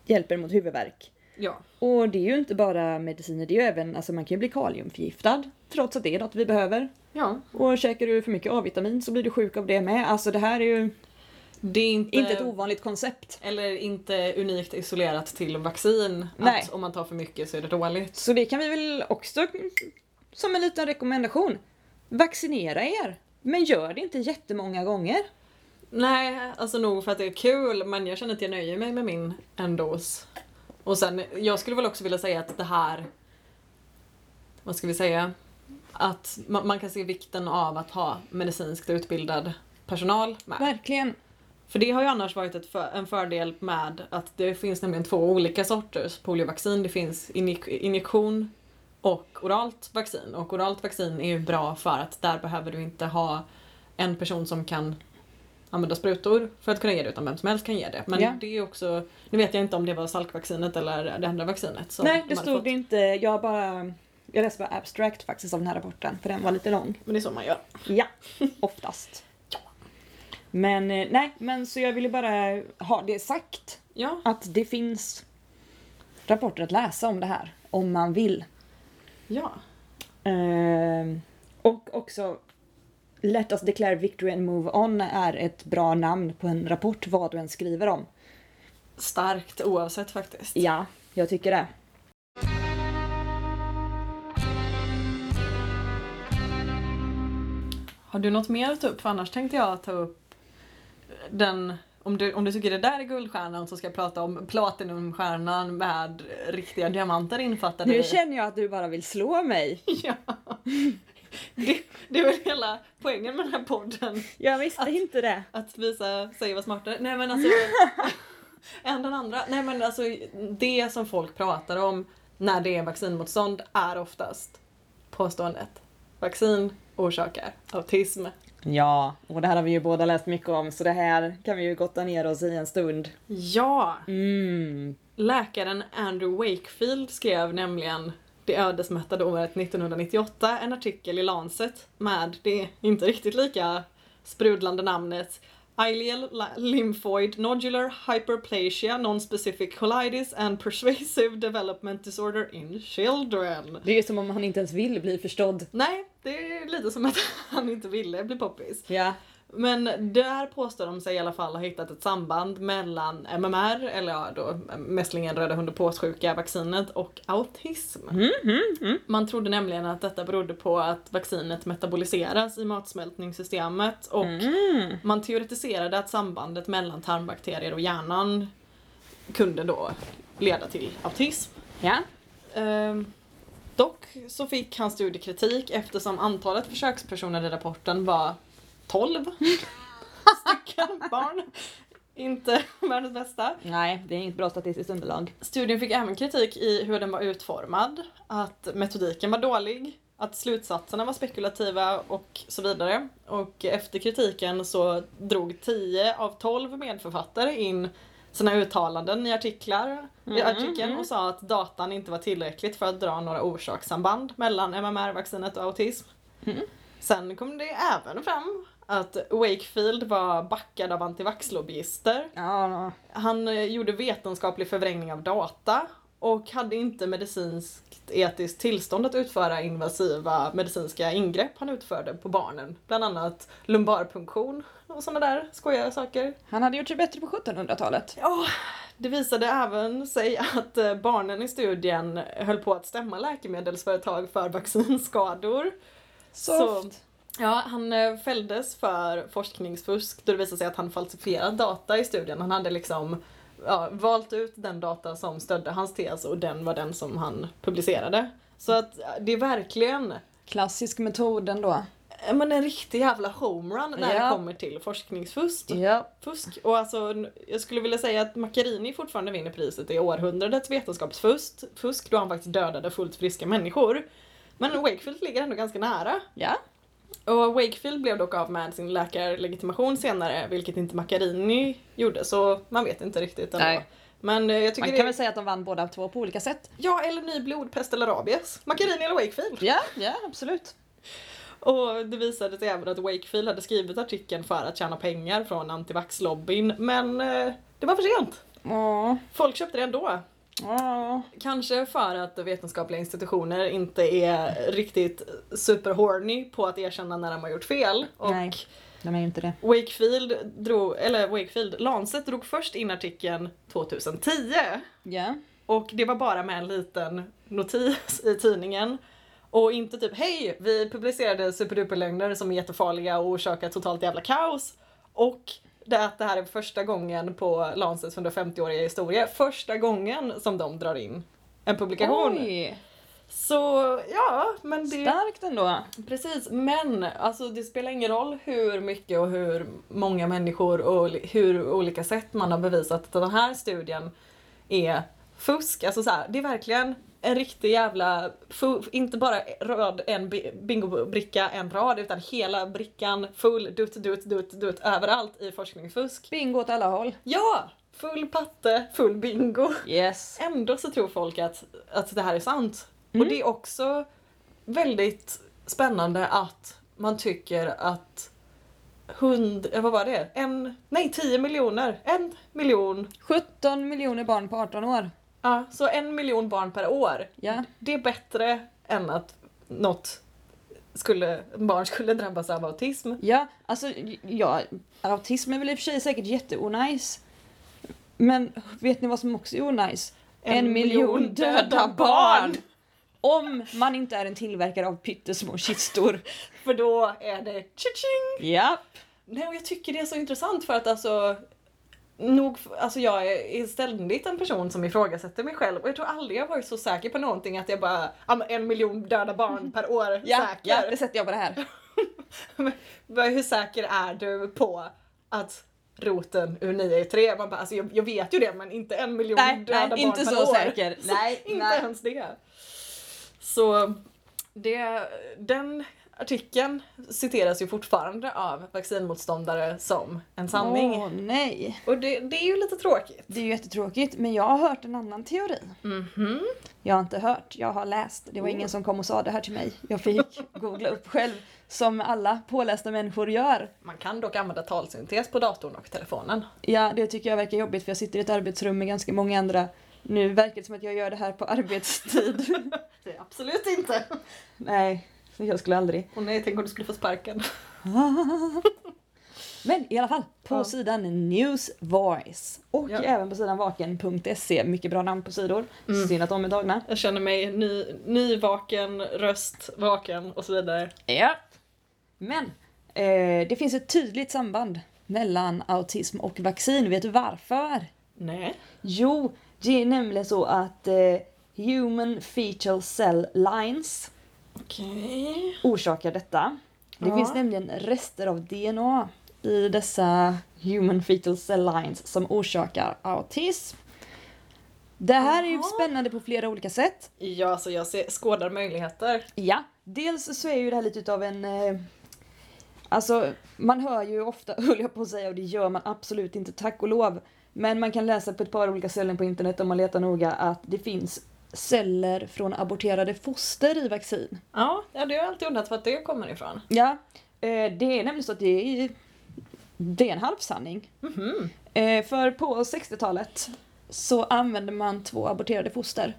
Speaker 2: hjälper mot huvudvärk.
Speaker 1: Ja.
Speaker 2: Och det är ju inte bara mediciner, det är ju även, alltså man kan ju bli kaliumförgiftad trots att det är något vi behöver.
Speaker 1: ja.
Speaker 2: Och käkar du för mycket A-vitamin så blir du sjuk av det med. Alltså det här är ju
Speaker 1: Det är inte,
Speaker 2: inte ett ovanligt koncept.
Speaker 1: Eller inte unikt isolerat till vaccin.
Speaker 2: Nej.
Speaker 1: Att om man tar för mycket så är det dåligt.
Speaker 2: Så det kan vi väl också som en liten rekommendation. Vaccinera er! Men gör det inte jättemånga gånger.
Speaker 1: Nej, alltså nog för att det är kul men jag känner att jag nöjer mig med min en dos. Och sen, jag skulle väl också vilja säga att det här, vad ska vi säga, att man, man kan se vikten av att ha medicinskt utbildad personal med.
Speaker 2: Verkligen.
Speaker 1: För det har ju annars varit ett för, en fördel med att det finns nämligen två olika sorters poliovaccin. Det finns injek- injektion och oralt vaccin. Och oralt vaccin är ju bra för att där behöver du inte ha en person som kan använda sprutor för att kunna ge det utan vem som helst kan ge det. Men
Speaker 2: Ja.
Speaker 1: det är också, nu vet jag inte om det var salkvaccinet eller det andra vaccinet. som
Speaker 2: Nej,
Speaker 1: de
Speaker 2: det
Speaker 1: hade
Speaker 2: stod
Speaker 1: fått.
Speaker 2: det inte. Jag bara... Jag läste bara abstract faktiskt av den här rapporten, för den var lite lång.
Speaker 1: Men det är så man gör.
Speaker 2: Ja, oftast. Men eh, nej, men så jag ville bara ha det sagt.
Speaker 1: Ja,
Speaker 2: Att det finns rapporter att läsa om det här, om man vill.
Speaker 1: ja.
Speaker 2: Ehm, och också Let us declare victory and move on är ett bra namn på en rapport vad du än skriver om.
Speaker 1: Starkt oavsett faktiskt.
Speaker 2: Ja, jag tycker det.
Speaker 1: Har du något mer att ta upp? För annars tänkte jag ta upp den, om du, om du tycker det där är guldstjärnan så ska jag prata om platinumstjärnan med riktiga diamanter infattade
Speaker 2: Nu
Speaker 1: i.
Speaker 2: känner jag att du bara vill slå mig.
Speaker 1: Ja. Det, det är väl hela poängen med den här podden.
Speaker 2: Jag visste inte det.
Speaker 1: Att visa sig vara smartare. Nej men
Speaker 2: <laughs>
Speaker 1: alltså. än den andra. Nej men alltså det som folk pratar om när det är vaccinmotstånd är oftast påståendet. Vaccin orsakar autism.
Speaker 2: Ja, och det här har vi ju båda läst mycket om så det här kan vi ju gotta ner oss i en stund.
Speaker 1: Ja!
Speaker 2: Mm.
Speaker 1: Läkaren Andrew Wakefield skrev nämligen det ödesmättade året 1998 en artikel i Lancet med det inte riktigt lika sprudlande namnet Ileal li- lymphoid nodular hyperplasia non-specific colitis and persuasive development disorder in children.
Speaker 2: Det är ju som om han inte ens vill bli förstådd.
Speaker 1: Nej, det är lite som att <laughs> han inte ville bli poppis.
Speaker 2: Ja.
Speaker 1: Men där påstår de sig i alla fall ha hittat ett samband mellan MMR, eller ja då mässlingen röda hund och påssjuka vaccinet och autism. Man trodde nämligen att detta berodde på att vaccinet metaboliseras i matsmältningssystemet och man teoretiserade att sambandet mellan tarmbakterier och hjärnan kunde då leda till autism.
Speaker 2: Ja.
Speaker 1: Ehm, dock så fick hans studie kritik eftersom antalet försökspersoner i rapporten var 12 stycken barn. Inte <laughs> världens bästa.
Speaker 2: Nej, det är inget bra statistiskt underlag.
Speaker 1: Studien fick även kritik i hur den var utformad, att metodiken var dålig, att slutsatserna var spekulativa och så vidare. Och efter kritiken så drog 10 av 12 medförfattare in sina uttalanden i artiklar i artikeln och sa att datan inte var tillräckligt för att dra några orsakssamband mellan MMR-vaccinet och autism. Sen kom det även fram att Wakefield var backad av antivaxlobbyister
Speaker 2: Ja,
Speaker 1: han eh, gjorde vetenskaplig förvrängning av data och hade inte medicinskt etiskt tillstånd att utföra invasiva medicinska ingrepp han utförde på barnen. Bland annat lumbarpunktion och sådana där skojiga saker.
Speaker 2: han hade gjort sig bättre på 1700-talet.
Speaker 1: Ja, det visade även sig att eh, barnen i studien höll på att stämma läkemedelsföretag för vaccinskador.
Speaker 2: Soft.
Speaker 1: Ja, han eh, fälldes för forskningsfusk då det visade sig att han falsifierat data i studien. Han hade liksom ja, valt ut den data som stödde hans tes och den var den som han publicerade. Så att eh, det är verkligen
Speaker 2: Klassisk metod ändå.
Speaker 1: eh, men en riktig jävla homerun när
Speaker 2: Ja.
Speaker 1: det kommer till forskningsfusk.
Speaker 2: Ja.
Speaker 1: Fusk. Och alltså, n- jag skulle vilja säga att Macchiarini fortfarande vinner priset i århundradets vetenskapsfusk fusk, då han faktiskt dödade fullt friska människor. Men Wakefield ligger ändå ganska nära.
Speaker 2: Ja.
Speaker 1: Och Wakefield blev dock av med sin läkarlegitimation senare, vilket inte Macchiarini gjorde, så man vet inte riktigt ändå.
Speaker 2: Nej.
Speaker 1: Men eh, jag tycker
Speaker 2: Man
Speaker 1: det...
Speaker 2: kan väl säga att de vann båda två på olika sätt.
Speaker 1: Ja, eller ny blodpest eller rabies. Macchiarini eller Wakefield.
Speaker 2: Ja, ja absolut.
Speaker 1: Och det visade sig även att Wakefield hade skrivit artikeln för att tjäna pengar från antivaxlobbyn, men eh, det var för sent.
Speaker 2: Ja.
Speaker 1: Folk köpte det ändå.
Speaker 2: Ja.
Speaker 1: Kanske för att vetenskapliga institutioner inte är riktigt superhorny på att erkänna när de har gjort fel. Och
Speaker 2: Nej. De är ju inte det.
Speaker 1: Wakefield drog, eller Wakefield, Lancet drog först in artikeln 2010
Speaker 2: Ja.
Speaker 1: och det var bara med en liten notis i tidningen och inte typ hej, vi publicerade superduperlögner som är jättefarliga och orsakar totalt jävla kaos och det att det här är första gången på Lancets 150-åriga historia, första gången som de drar in en publikation.
Speaker 2: Oj,
Speaker 1: Så ja, men det...
Speaker 2: starkt ändå.
Speaker 1: Precis, men alltså, det spelar ingen roll hur mycket och hur många människor och li- hur olika sätt man har bevisat att den här studien är fusk. Alltså, så här, det är verkligen en riktig jävla, fu- inte bara röd en bi- bingobricka en rad utan hela brickan full dutt dutt dutt dutt överallt i forskningsfusk.
Speaker 2: Bingo åt alla håll.
Speaker 1: Ja! Full patte, full bingo.
Speaker 2: Yes.
Speaker 1: Ändå så tror folk att, att det här är sant. Och det är också väldigt spännande att man tycker att hund, eh, vad var det? En, nej 10 miljoner, en miljon,
Speaker 2: 17 miljoner barn på 18 år.
Speaker 1: ja så en miljon barn per år.
Speaker 2: Ja.
Speaker 1: Det är bättre än att något skulle, barn skulle drabbas av autism.
Speaker 2: Ja, alltså ja, autism är väl i och för sig säkert jätteonajs. Men vet ni vad som också är onajs? En, miljon döda barn! Om man inte är en tillverkare av pyttesmå kistor.
Speaker 1: För då är det tjing
Speaker 2: Ja.
Speaker 1: Nej, och jag tycker det är så intressant för att alltså Nog, alltså jag är är ständigt en person som ifrågasätter mig själv och jag tror aldrig jag varit så säker på någonting att jag bara, ja men en miljon döda barn per år
Speaker 2: Mm. Ja,
Speaker 1: säker.
Speaker 2: ja, det sätter jag på det här.
Speaker 1: Men vad- Hur säker är du på att roten ur 9 är 3? Man bara, alltså jag, jag vet ju det men inte en miljon
Speaker 2: Nej,
Speaker 1: döda
Speaker 2: nej,
Speaker 1: barn
Speaker 2: inte
Speaker 1: per
Speaker 2: så
Speaker 1: år.
Speaker 2: säker.
Speaker 1: <laughs> Så
Speaker 2: Nej,
Speaker 1: inte
Speaker 2: nej.
Speaker 1: ens det. Så det, den artikeln citeras ju fortfarande av vaccinmotståndare som en sanning.
Speaker 2: Åh nej.
Speaker 1: Och det, det är ju lite tråkigt.
Speaker 2: Det är ju jättetråkigt men jag har hört en annan teori.
Speaker 1: Mhm. Oh.
Speaker 2: Jag har inte hört, jag har läst. Det var ingen som kom och sa det här till mig. Jag fick googla upp själv. Som alla pålästa människor gör.
Speaker 1: Man kan dock använda talsyntes på datorn och
Speaker 2: <laughs>
Speaker 1: telefonen.
Speaker 2: Ja, det tycker jag verkar jobbigt för jag sitter i ett arbetsrum med ganska många andra. Nu verkar det som att jag gör det här på arbetstid. <laughs>
Speaker 1: Det är absolut inte.
Speaker 2: Nej, jag skulle aldrig.
Speaker 1: Och nej, tänk om du skulle få sparken.
Speaker 2: Men i alla fall, på
Speaker 1: Ja.
Speaker 2: sidan News Voice och
Speaker 1: Ja.
Speaker 2: även på sidan vaken.se. E, Mycket bra namn på sidor.
Speaker 1: Mm.
Speaker 2: Synd att de är tagna.
Speaker 1: Jag känner mig ny, nyvaken, röst vaken och så vidare.
Speaker 2: Ja. Men eh, det finns ett tydligt samband mellan autism och vaccin. Vet du varför?
Speaker 1: Nej.
Speaker 2: Jo, det är nämligen så att eh, human fetal cell lines
Speaker 1: Okej.
Speaker 2: orsakar detta. Det
Speaker 1: Ja.
Speaker 2: finns nämligen rester av DNA i dessa human fetal cell lines som orsakar autism. Det här är ju
Speaker 1: Jaha.
Speaker 2: spännande på flera olika sätt.
Speaker 1: Ja, alltså jag ser, skådar möjligheter.
Speaker 2: Ja, dels så är ju det här lite utav en... Eh, alltså, man hör ju ofta, <laughs> höll jag på att säga, och det gör man absolut inte, tack och lov. Men man kan läsa på ett par olika ställen på internet om man letar noga att det finns celler från aborterade foster i vaccin.
Speaker 1: Ja, ja det har jag alltid undrat vart det kommer ifrån.
Speaker 2: Ja, eh, det är nämligen så att det är, det är en halvsanning.
Speaker 1: Mhm.
Speaker 2: Eh, för på 60-talet så använde man två aborterade foster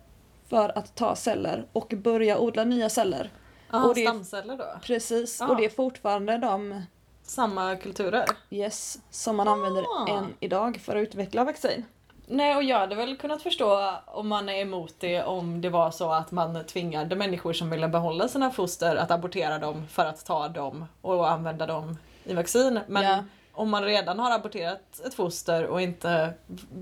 Speaker 2: för att ta celler och börja odla nya celler.
Speaker 1: Ah,
Speaker 2: Och det-
Speaker 1: stamceller då?
Speaker 2: Precis,
Speaker 1: Ja.
Speaker 2: och det är fortfarande de
Speaker 1: Samma kulturer?
Speaker 2: yes som man använder
Speaker 1: Ah.
Speaker 2: än idag för att utveckla vaccin.
Speaker 1: Nej, och jag hade väl kunnat förstå om man är emot det om det var så att man tvingade människor som ville behålla sina foster att abortera dem för att ta dem och använda dem i vaccin. Men
Speaker 2: Ja.
Speaker 1: om man redan har aborterat ett foster och inte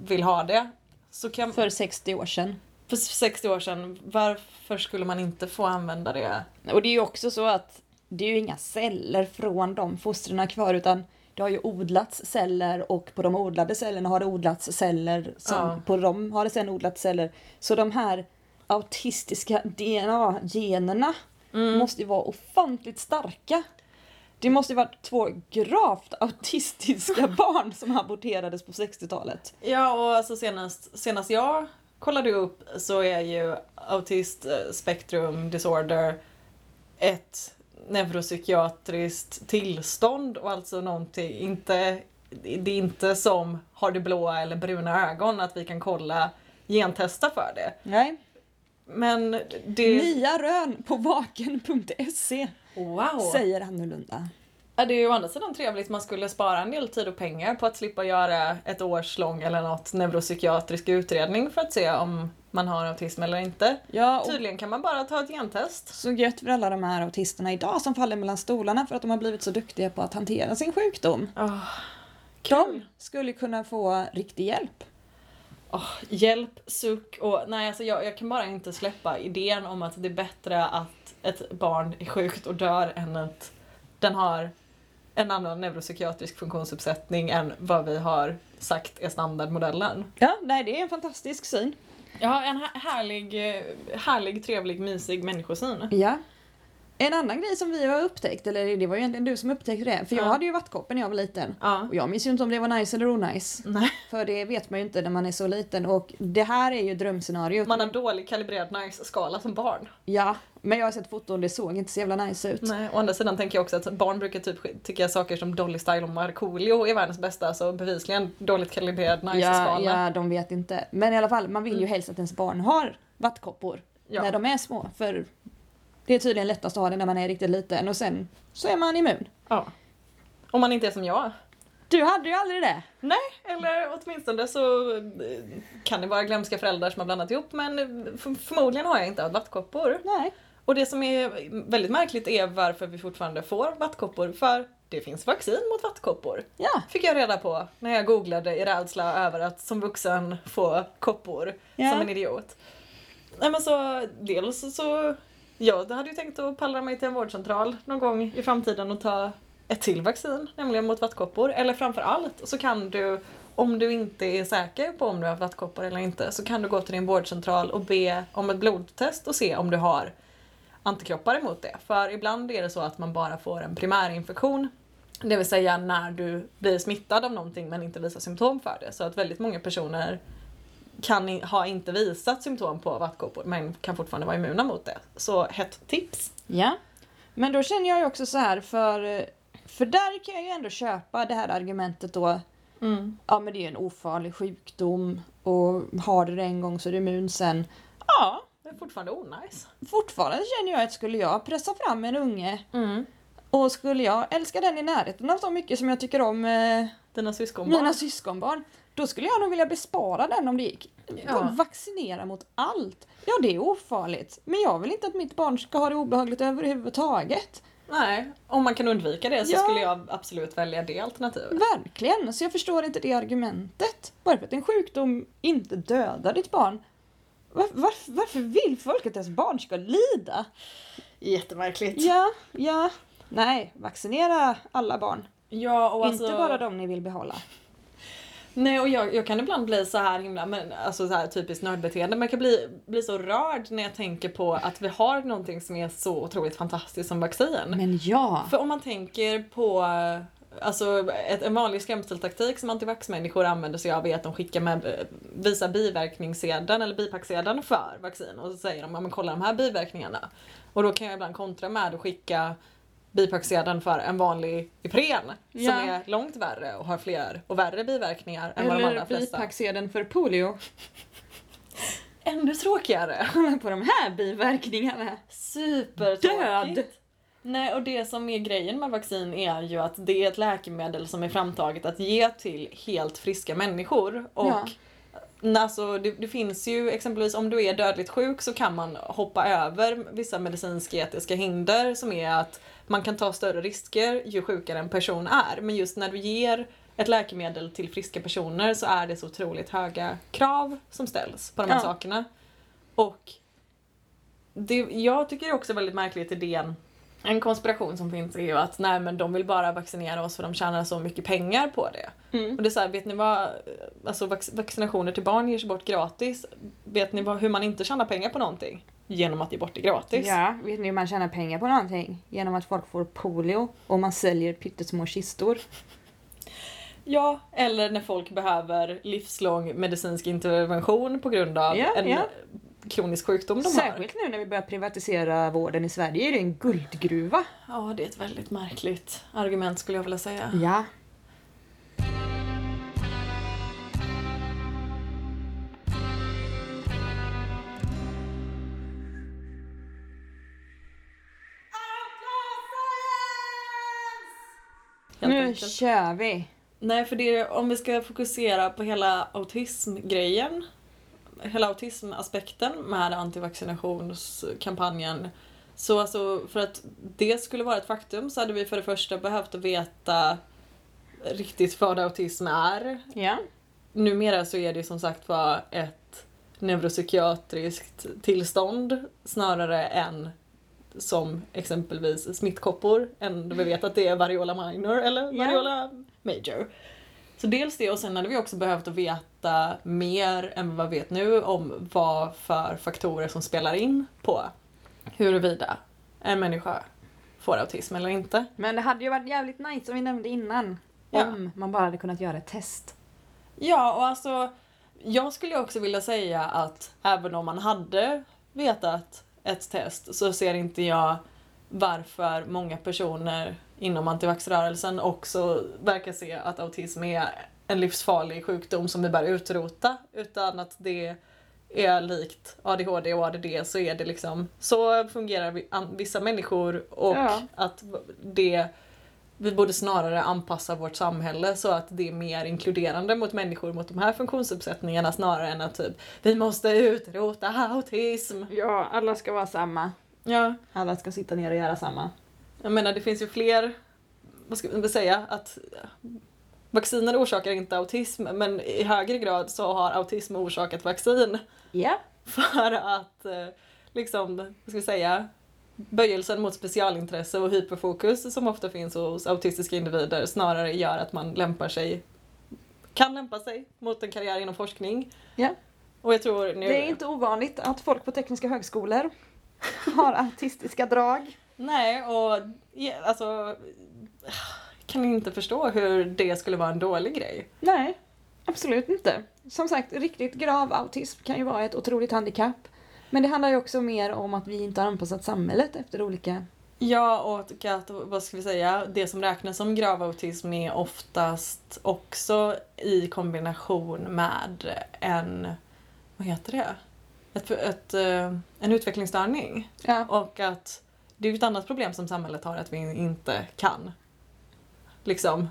Speaker 1: vill ha det så kan för,
Speaker 2: För 60 år sedan.
Speaker 1: för 60 år sedan, varför skulle man inte få använda det?
Speaker 2: Och det är ju också så att det är ju inga celler från de fostren kvar utan det har ju odlats celler och på de odlade cellerna har det odlats celler som
Speaker 1: Ja.
Speaker 2: på dem har det sen odlats celler. Så de här autistiska DNA-generna
Speaker 1: Mm.
Speaker 2: måste ju vara ofantligt starka. Det måste ju vara två gravt autistiska barn som aborterades på 60-talet.
Speaker 1: Ja, och alltså senast, senast jag kollade upp så är ju Autist Spectrum Disorder ett neuropsykiatriskt tillstånd och alltså någonting, inte, det är inte som har du blåa eller bruna ögon att vi kan kolla gentesta för det.
Speaker 2: Nej.
Speaker 1: Men det...
Speaker 2: Nya rön på vaken.se
Speaker 1: Wow!
Speaker 2: E, säger annorlunda.
Speaker 1: Ja, det är ju å andra sidan trevligt. Man skulle spara en del tid och pengar på att slippa göra ett års lång eller något neuropsykiatrisk utredning för att se om man har autism eller inte.
Speaker 2: Ja, och
Speaker 1: Tydligen kan man bara ta ett gentest.
Speaker 2: så gött för alla de här autisterna idag som faller mellan stolarna för att de har blivit så duktiga på att hantera sin sjukdom.
Speaker 1: Oh,
Speaker 2: De skulle kunna få riktig hjälp.
Speaker 1: ah, hjälp, suck och nej alltså jag, jag kan bara inte släppa idén om att det är bättre att ett barn är sjukt och dör än att den har en annan neuropsykiatrisk funktionsuppsättning än vad vi har sagt är standardmodellen.
Speaker 2: Ja, nej det är en fantastisk syn.
Speaker 1: Ja, en här- härlig, eh, härlig, trevlig, mysig människosyn.
Speaker 2: Ja. En annan grej som vi har upptäckt, eller det var ju egentligen du som upptäckte det, för jag
Speaker 1: Ja.
Speaker 2: hade ju vattkoppor när jag var liten.
Speaker 1: Ja.
Speaker 2: Och jag minns ju inte om det var nice eller onajs.
Speaker 1: Nej.
Speaker 2: För det vet man ju inte när man är så liten och det här är ju drömscenariot.
Speaker 1: Man har dålig kalibrerad nice-skala som barn.
Speaker 2: Ja, men jag har sett foton, det såg inte så jävla nice ut.
Speaker 1: Nej, å andra sidan tänker jag också att barn brukar typ sk- tycka saker som Dolly Style och Markoolio är världens bästa, så bevisligen dåligt kalibrerad
Speaker 2: Ja,
Speaker 1: nice-skala.
Speaker 2: ja, de vet inte. Men i alla fall, man vill ju helst att ens barn har vattkoppor
Speaker 1: Ja.
Speaker 2: när de är små. För det är tydligen lättast att ha det när man är riktigt liten och sen så är man immun.
Speaker 1: Ja. Om man inte är som jag.
Speaker 2: Du hade ju aldrig det!
Speaker 1: Nej, eller åtminstone så eh, kan det vara glömska föräldrar som har blandat ihop men eh, f- förmodligen har jag inte haft vattkoppor.
Speaker 2: Nej.
Speaker 1: Och det som är väldigt märkligt är varför vi fortfarande får vattkoppor för det finns vaccin mot vattkoppor.
Speaker 2: Ja.
Speaker 1: Fick jag reda på när jag googlade i rädsla över att som vuxen få koppor
Speaker 2: Ja.
Speaker 1: som en idiot. Nej men så dels så, ja, jag hade ju tänkt att pallra mig till en vårdcentral någon gång i framtiden och ta ett till vaccin, nämligen mot vattkoppor. Eller framför allt så kan du, om du inte är säker på om du har vattkoppor eller inte, så kan du gå till din vårdcentral och be om ett blodtest och se om du har antikroppar emot det. För ibland är det så att man bara får en primärinfektion. Det vill säga när du blir smittad av någonting men inte visar symptom för det. Så att väldigt många personer kan i, ha inte visat symptom på vattkoppor men kan fortfarande vara immuna mot det. Så hett tips!
Speaker 2: Ja. Men då känner jag ju också så här för, för där kan jag ju ändå köpa det här argumentet då. Ja men det är ju en ofarlig sjukdom och har du det en gång så är du immun sen. Ja,
Speaker 1: Det är fortfarande onajs.
Speaker 2: fortfarande känner jag att skulle jag pressa fram en unge och skulle jag älska den i närheten av så mycket som jag tycker om eh,
Speaker 1: Dina syskonbarn.
Speaker 2: mina syskonbarn, då skulle jag nog vilja bespara den om det gick.
Speaker 1: Ja.
Speaker 2: Vaccinera mot allt. Ja, det är ofarligt. Men jag vill inte att mitt barn ska ha det obehagligt överhuvudtaget.
Speaker 1: Nej, om man kan undvika det så
Speaker 2: Ja.
Speaker 1: skulle jag absolut välja det alternativet.
Speaker 2: Verkligen, så jag förstår inte det argumentet. Bara för att en sjukdom inte dödar ditt barn. Var, var, varför vill folk att deras barn ska lida?
Speaker 1: Jättemärkligt.
Speaker 2: Ja, ja. Nej, vaccinera alla barn.
Speaker 1: Ja, och alltså,
Speaker 2: Inte bara de ni vill behålla.
Speaker 1: Nej och jag, jag kan ibland bli så här himla, men alltså så här typiskt nördbeteende, men jag kan bli, bli så rörd när jag tänker på att vi har någonting som är så otroligt fantastiskt som vaccin.
Speaker 2: Men ja!
Speaker 1: För om man tänker på eh, Alltså ett, en vanlig skrämseltaktik som antivaxmänniskor använder sig av är att de skickar med, eh, visar biverkningssedeln eller bipacksedeln för vaccin och så säger de ja men kolla de här biverkningarna. Och då kan jag ibland kontra med att skicka bipacksedeln för en vanlig Ipren
Speaker 2: Ja.
Speaker 1: som är långt värre och har fler och värre biverkningar än vad de allra
Speaker 2: Eller
Speaker 1: flesta.
Speaker 2: bipacksedeln för polio.
Speaker 1: Ännu tråkigare!
Speaker 2: Kolla <laughs> på de här biverkningarna.
Speaker 1: Supertråkigt!
Speaker 2: Död.
Speaker 1: Nej, och det som är grejen med vaccin är ju att det är ett läkemedel som är framtaget att ge till helt friska människor. Och
Speaker 2: Ja.
Speaker 1: n- alltså, det, det finns ju exempelvis om du är dödligt sjuk så kan man hoppa över vissa medicinsk-etiska hinder som är att man kan ta större risker ju sjukare en person är. Men just när du ger ett läkemedel till friska personer så är det så otroligt höga krav som ställs på de här
Speaker 2: Ja.
Speaker 1: sakerna. Och det, jag tycker också väldigt märkligt idén en konspiration som finns är ju att nej men de vill bara vaccinera oss för de tjänar så mycket pengar på det.
Speaker 2: Mm.
Speaker 1: Och det är såhär, vet ni vad, alltså vac- vaccinationer till barn ges bort gratis. Vet ni vad, hur man inte tjänar pengar på någonting? Genom att ge bort det gratis.
Speaker 2: Ja, vet ni hur man tjänar pengar på någonting? Genom att folk får polio och man säljer pyttesmå kistor.
Speaker 1: Ja, eller när folk behöver livslång medicinsk intervention på grund av
Speaker 2: Ja,
Speaker 1: en
Speaker 2: ja.
Speaker 1: kronisk sjukdom de har.
Speaker 2: Särskilt nu när vi börjar privatisera vården i Sverige är det en guldgruva.
Speaker 1: Ja, det är ett väldigt märkligt argument skulle jag vilja säga.
Speaker 2: Ja.
Speaker 1: Helt
Speaker 2: nu
Speaker 1: enkelt.
Speaker 2: kör vi!
Speaker 1: Nej, för det, om vi ska fokusera på hela autismgrejen, hela autismaspekten med antivaccinationskampanjen. Så alltså, för att det skulle vara ett faktum så hade vi för det första behövt att veta riktigt vad autism är.
Speaker 2: Ja.
Speaker 1: Numera så är det ju som sagt var ett neuropsykiatriskt tillstånd snarare än som exempelvis smittkoppor, än då vi vet att det är variola minor eller
Speaker 2: Ja.
Speaker 1: variola major. Så dels det och sen hade vi också behövt att veta mer än vad vi vet nu om vad för faktorer som spelar in på huruvida en människa får autism eller inte. Mm.
Speaker 2: Men det hade ju varit jävligt nice som vi nämnde innan.
Speaker 1: Ja.
Speaker 2: Om man bara hade kunnat göra ett test.
Speaker 1: Ja, och alltså jag skulle också vilja säga att även om man hade vetat ett test så ser inte jag varför många personer inom antivaxrörelsen också verkar se att autism är en livsfarlig sjukdom som vi bör utrota utan att det är likt ADHD och ADD så är det liksom så fungerar vi, an, vissa människor och
Speaker 2: Ja.
Speaker 1: att det vi borde snarare anpassa vårt samhälle så att det är mer inkluderande mot människor mot de här funktionsuppsättningarna snarare än att typ vi måste utrota autism.
Speaker 2: Ja, alla ska vara samma.
Speaker 1: Ja,
Speaker 2: Alla ska sitta ner och göra samma.
Speaker 1: jag menar det finns ju fler, vad ska vi säga, att vacciner orsakar inte autism men i högre grad så har autism orsakat vaccin
Speaker 2: Ja.
Speaker 1: för att eh, liksom, vad ska vi säga, böjelsen mot specialintresse och hyperfokus som ofta finns hos autistiska individer snarare gör att man lämpar sig, kan lämpa sig mot en karriär inom forskning.
Speaker 2: Ja.
Speaker 1: Och jag tror nu...
Speaker 2: Det är inte ovanligt att folk på tekniska högskolor <laughs> har autistiska drag.
Speaker 1: Nej, och ja, alltså... Kan inte förstå hur det skulle vara en dålig grej.
Speaker 2: Nej, absolut inte. Som sagt, riktigt grav autism kan ju vara ett otroligt handikapp. Men det handlar ju också mer om att vi inte har anpassat samhället efter olika...
Speaker 1: Ja, och att, vad ska vi säga, det som räknas som grav autism är oftast också i kombination med en, vad heter det? Ett, ett, eh, en utvecklingsstörning.
Speaker 2: Ja,
Speaker 1: Och att det är ju ett annat problem som samhället har, att vi inte kan liksom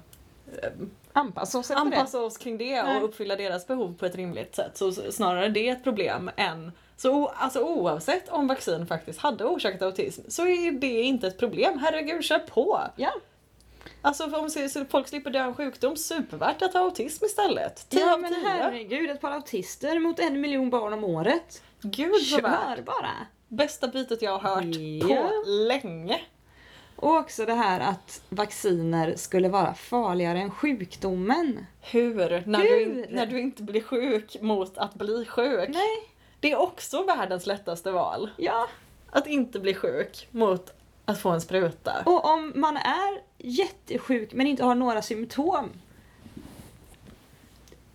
Speaker 1: eh,
Speaker 2: anpassa oss efter det.
Speaker 1: anpassa oss kring det och
Speaker 2: Nej.
Speaker 1: uppfylla deras behov på ett rimligt sätt. Så s- snarare det är ett problem än så o- alltså oavsett om vaccin faktiskt hade orsakat autism så är det inte ett problem. Herregud, kör på!
Speaker 2: Ja,
Speaker 1: Alltså för om så- så folk slipper dö av en sjukdom, supervärt att ha autism istället. 10
Speaker 2: ja
Speaker 1: av
Speaker 2: men
Speaker 1: 10.
Speaker 2: herregud, ett par autister mot en miljon barn om året.
Speaker 1: Gud så värt!
Speaker 2: Kör bara!
Speaker 1: Bästa bitet jag har hört
Speaker 2: Ja.
Speaker 1: på länge.
Speaker 2: Och också det här att vacciner skulle vara farligare än sjukdomen.
Speaker 1: Hur? När, Du, in-
Speaker 2: Hur?
Speaker 1: när du inte blir sjuk mot att bli sjuk.
Speaker 2: Nej,
Speaker 1: Det är också världens lättaste val.
Speaker 2: ja.
Speaker 1: Att inte bli sjuk mot att få en spruta.
Speaker 2: Och om man är jättesjuk men inte har några symptom.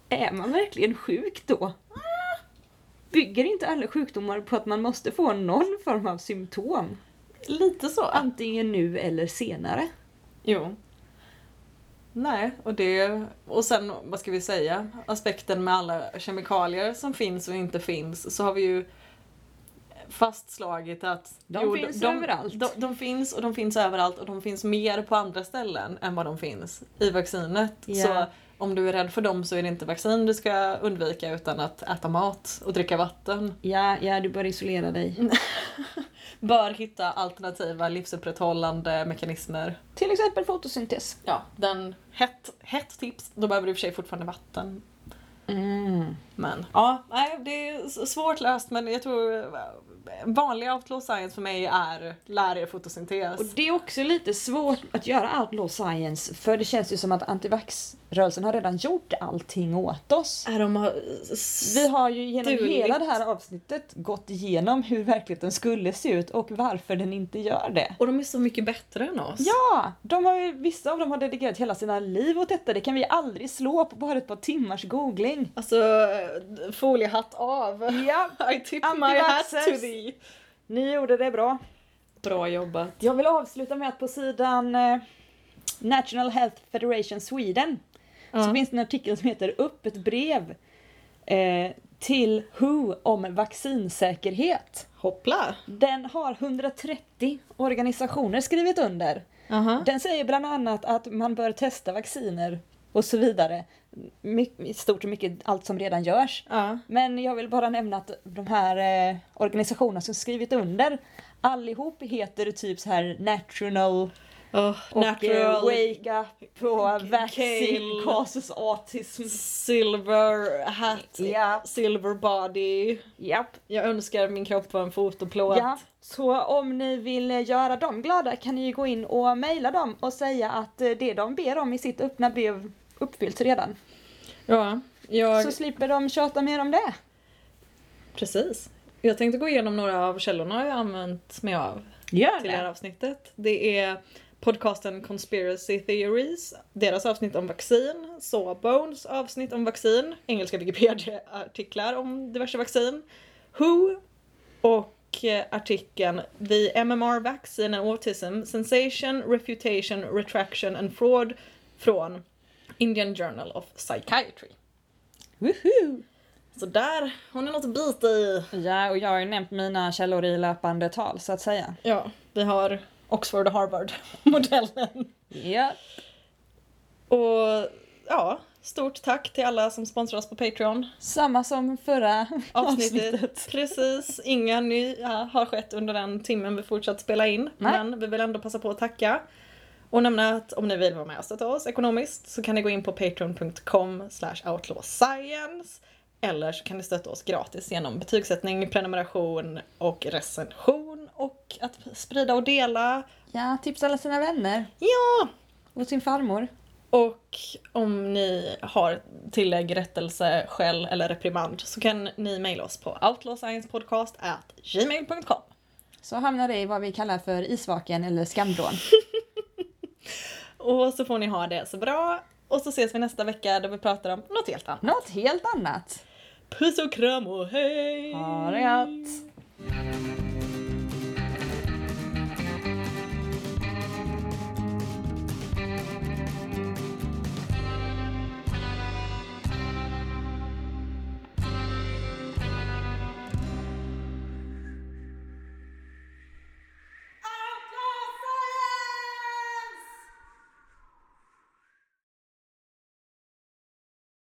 Speaker 2: Är man verkligen sjuk då? Bygger inte alla sjukdomar på att man måste få någon form av symptom?
Speaker 1: Lite så.
Speaker 2: Antingen nu eller senare.
Speaker 1: Jo. Nej, och det... Och sen, vad ska vi säga? Aspekten med alla kemikalier som finns och inte finns så har vi ju fastslagit att
Speaker 2: De finns överallt.
Speaker 1: De, de finns och de finns överallt och de finns mer på andra ställen än vad de finns i vaccinet.
Speaker 2: Ja.
Speaker 1: Så om du är rädd för dem så är det inte vaccin du ska undvika utan att äta mat och dricka vatten.
Speaker 2: Ja, ja du bör isolera dig.
Speaker 1: Bör hitta alternativa livsupprätthållande mekanismer.
Speaker 2: Till exempel fotosyntes.
Speaker 1: Ja, den hett, hett tips. Då behöver du i och för sig fortfarande vatten. Men ja, nej, det är s- svårt löst men jag tror eh, vanlig outlaw science för mig är lär er fotosyntes.
Speaker 2: Och det är också lite svårt att göra outlaw science för det känns ju som att antivax-rörelsen har redan gjort allting åt oss.
Speaker 1: Är de har...
Speaker 2: Vi har ju genom
Speaker 1: Stulit.
Speaker 2: hela det här avsnittet gått igenom hur verkligheten skulle se ut och varför den inte gör det.
Speaker 1: Och de är så mycket bättre än oss.
Speaker 2: Ja! De har ju, vissa av dem har dedikerat hela sina liv åt detta, det kan vi aldrig slå på bara ett par timmars googling.
Speaker 1: Alltså, eh, foliehatt av.
Speaker 2: Ja,
Speaker 1: <laughs> I tip my hat to
Speaker 2: Antivaxxers.
Speaker 1: thee.
Speaker 2: ni gjorde det bra.
Speaker 1: Bra jobbat.
Speaker 2: Jag vill avsluta med att på sidan eh, National Health Federation Sweden så finns det en artikel som heter Upp ett brev eh, till WHO om vaccinsäkerhet.
Speaker 1: Hoppla.
Speaker 2: Den har 130 organisationer skrivit under. Den säger bland annat att man bör testa vacciner och så vidare. My, I stort och mycket allt som redan görs.
Speaker 1: Ja.
Speaker 2: Men jag vill bara nämna att de här eh, organisationerna som skrivit under allihop heter typ så här National och
Speaker 1: natural.
Speaker 2: eh, Wake Up och Vaccine
Speaker 1: Kale.
Speaker 2: Causes Autism.
Speaker 1: Silver hat.
Speaker 2: Ja,
Speaker 1: Silver body.
Speaker 2: japp.
Speaker 1: Jag önskar min kropp var en fotoplåt.
Speaker 2: Ja, så om ni vill göra dem glada kan ni ju gå in och mejla dem och säga att eh, det de ber om i sitt öppna brev uppfylls redan.
Speaker 1: Ja, jag...
Speaker 2: Så slipper de tjata mer om det.
Speaker 1: Precis. Jag tänkte gå igenom några av källorna jag använt mig av
Speaker 2: Gör
Speaker 1: till det här avsnittet. Det är podcasten Conspiracy Theories, deras avsnitt om vaccin, Sawbones avsnitt om vaccin, engelska Wikipedia-artiklar om diverse vaccin, Who och eh, artikeln The MMR Vaccine and Autism Sensation, Refutation, Retraction and Fraud från Indian Journal of Psychiatry.
Speaker 2: Woohoo!
Speaker 1: Så där har ni något att bita i.
Speaker 2: Ja, och jag har ju nämnt mina källor i löpande tal så att säga.
Speaker 1: Ja, vi har Oxford och Harvard-modellen.
Speaker 2: Ja.
Speaker 1: Och ja, stort tack till alla som sponsrar oss på Patreon.
Speaker 2: Samma som förra
Speaker 1: Avsnittet.
Speaker 2: avsnittet.
Speaker 1: Precis, inga nya har skett under den timmen vi fortsatt spela in.
Speaker 2: Nej.
Speaker 1: Men vi vill ändå passa på att tacka. Och nämna att om ni vill vara med och stötta oss ekonomiskt så kan ni gå in på patreon.com outlawscience. Eller så kan ni stötta oss gratis genom betygssättning, prenumeration och recension. Och att sprida och dela.
Speaker 2: Ja, tipsa alla sina vänner
Speaker 1: Ja!
Speaker 2: och sin farmor.
Speaker 1: Och om ni har tillägg, rättelse, skäll eller reprimand så kan ni mejla oss på outlawsciencepodcast@gmail.com.
Speaker 2: så hamnar det i vad vi kallar för isvaken eller skamvrån.
Speaker 1: Och så får ni ha det så bra. Och så ses vi nästa vecka då vi pratar om något helt annat.
Speaker 2: Något helt annat.
Speaker 1: Puss och kram och hej!
Speaker 2: Ha det gött!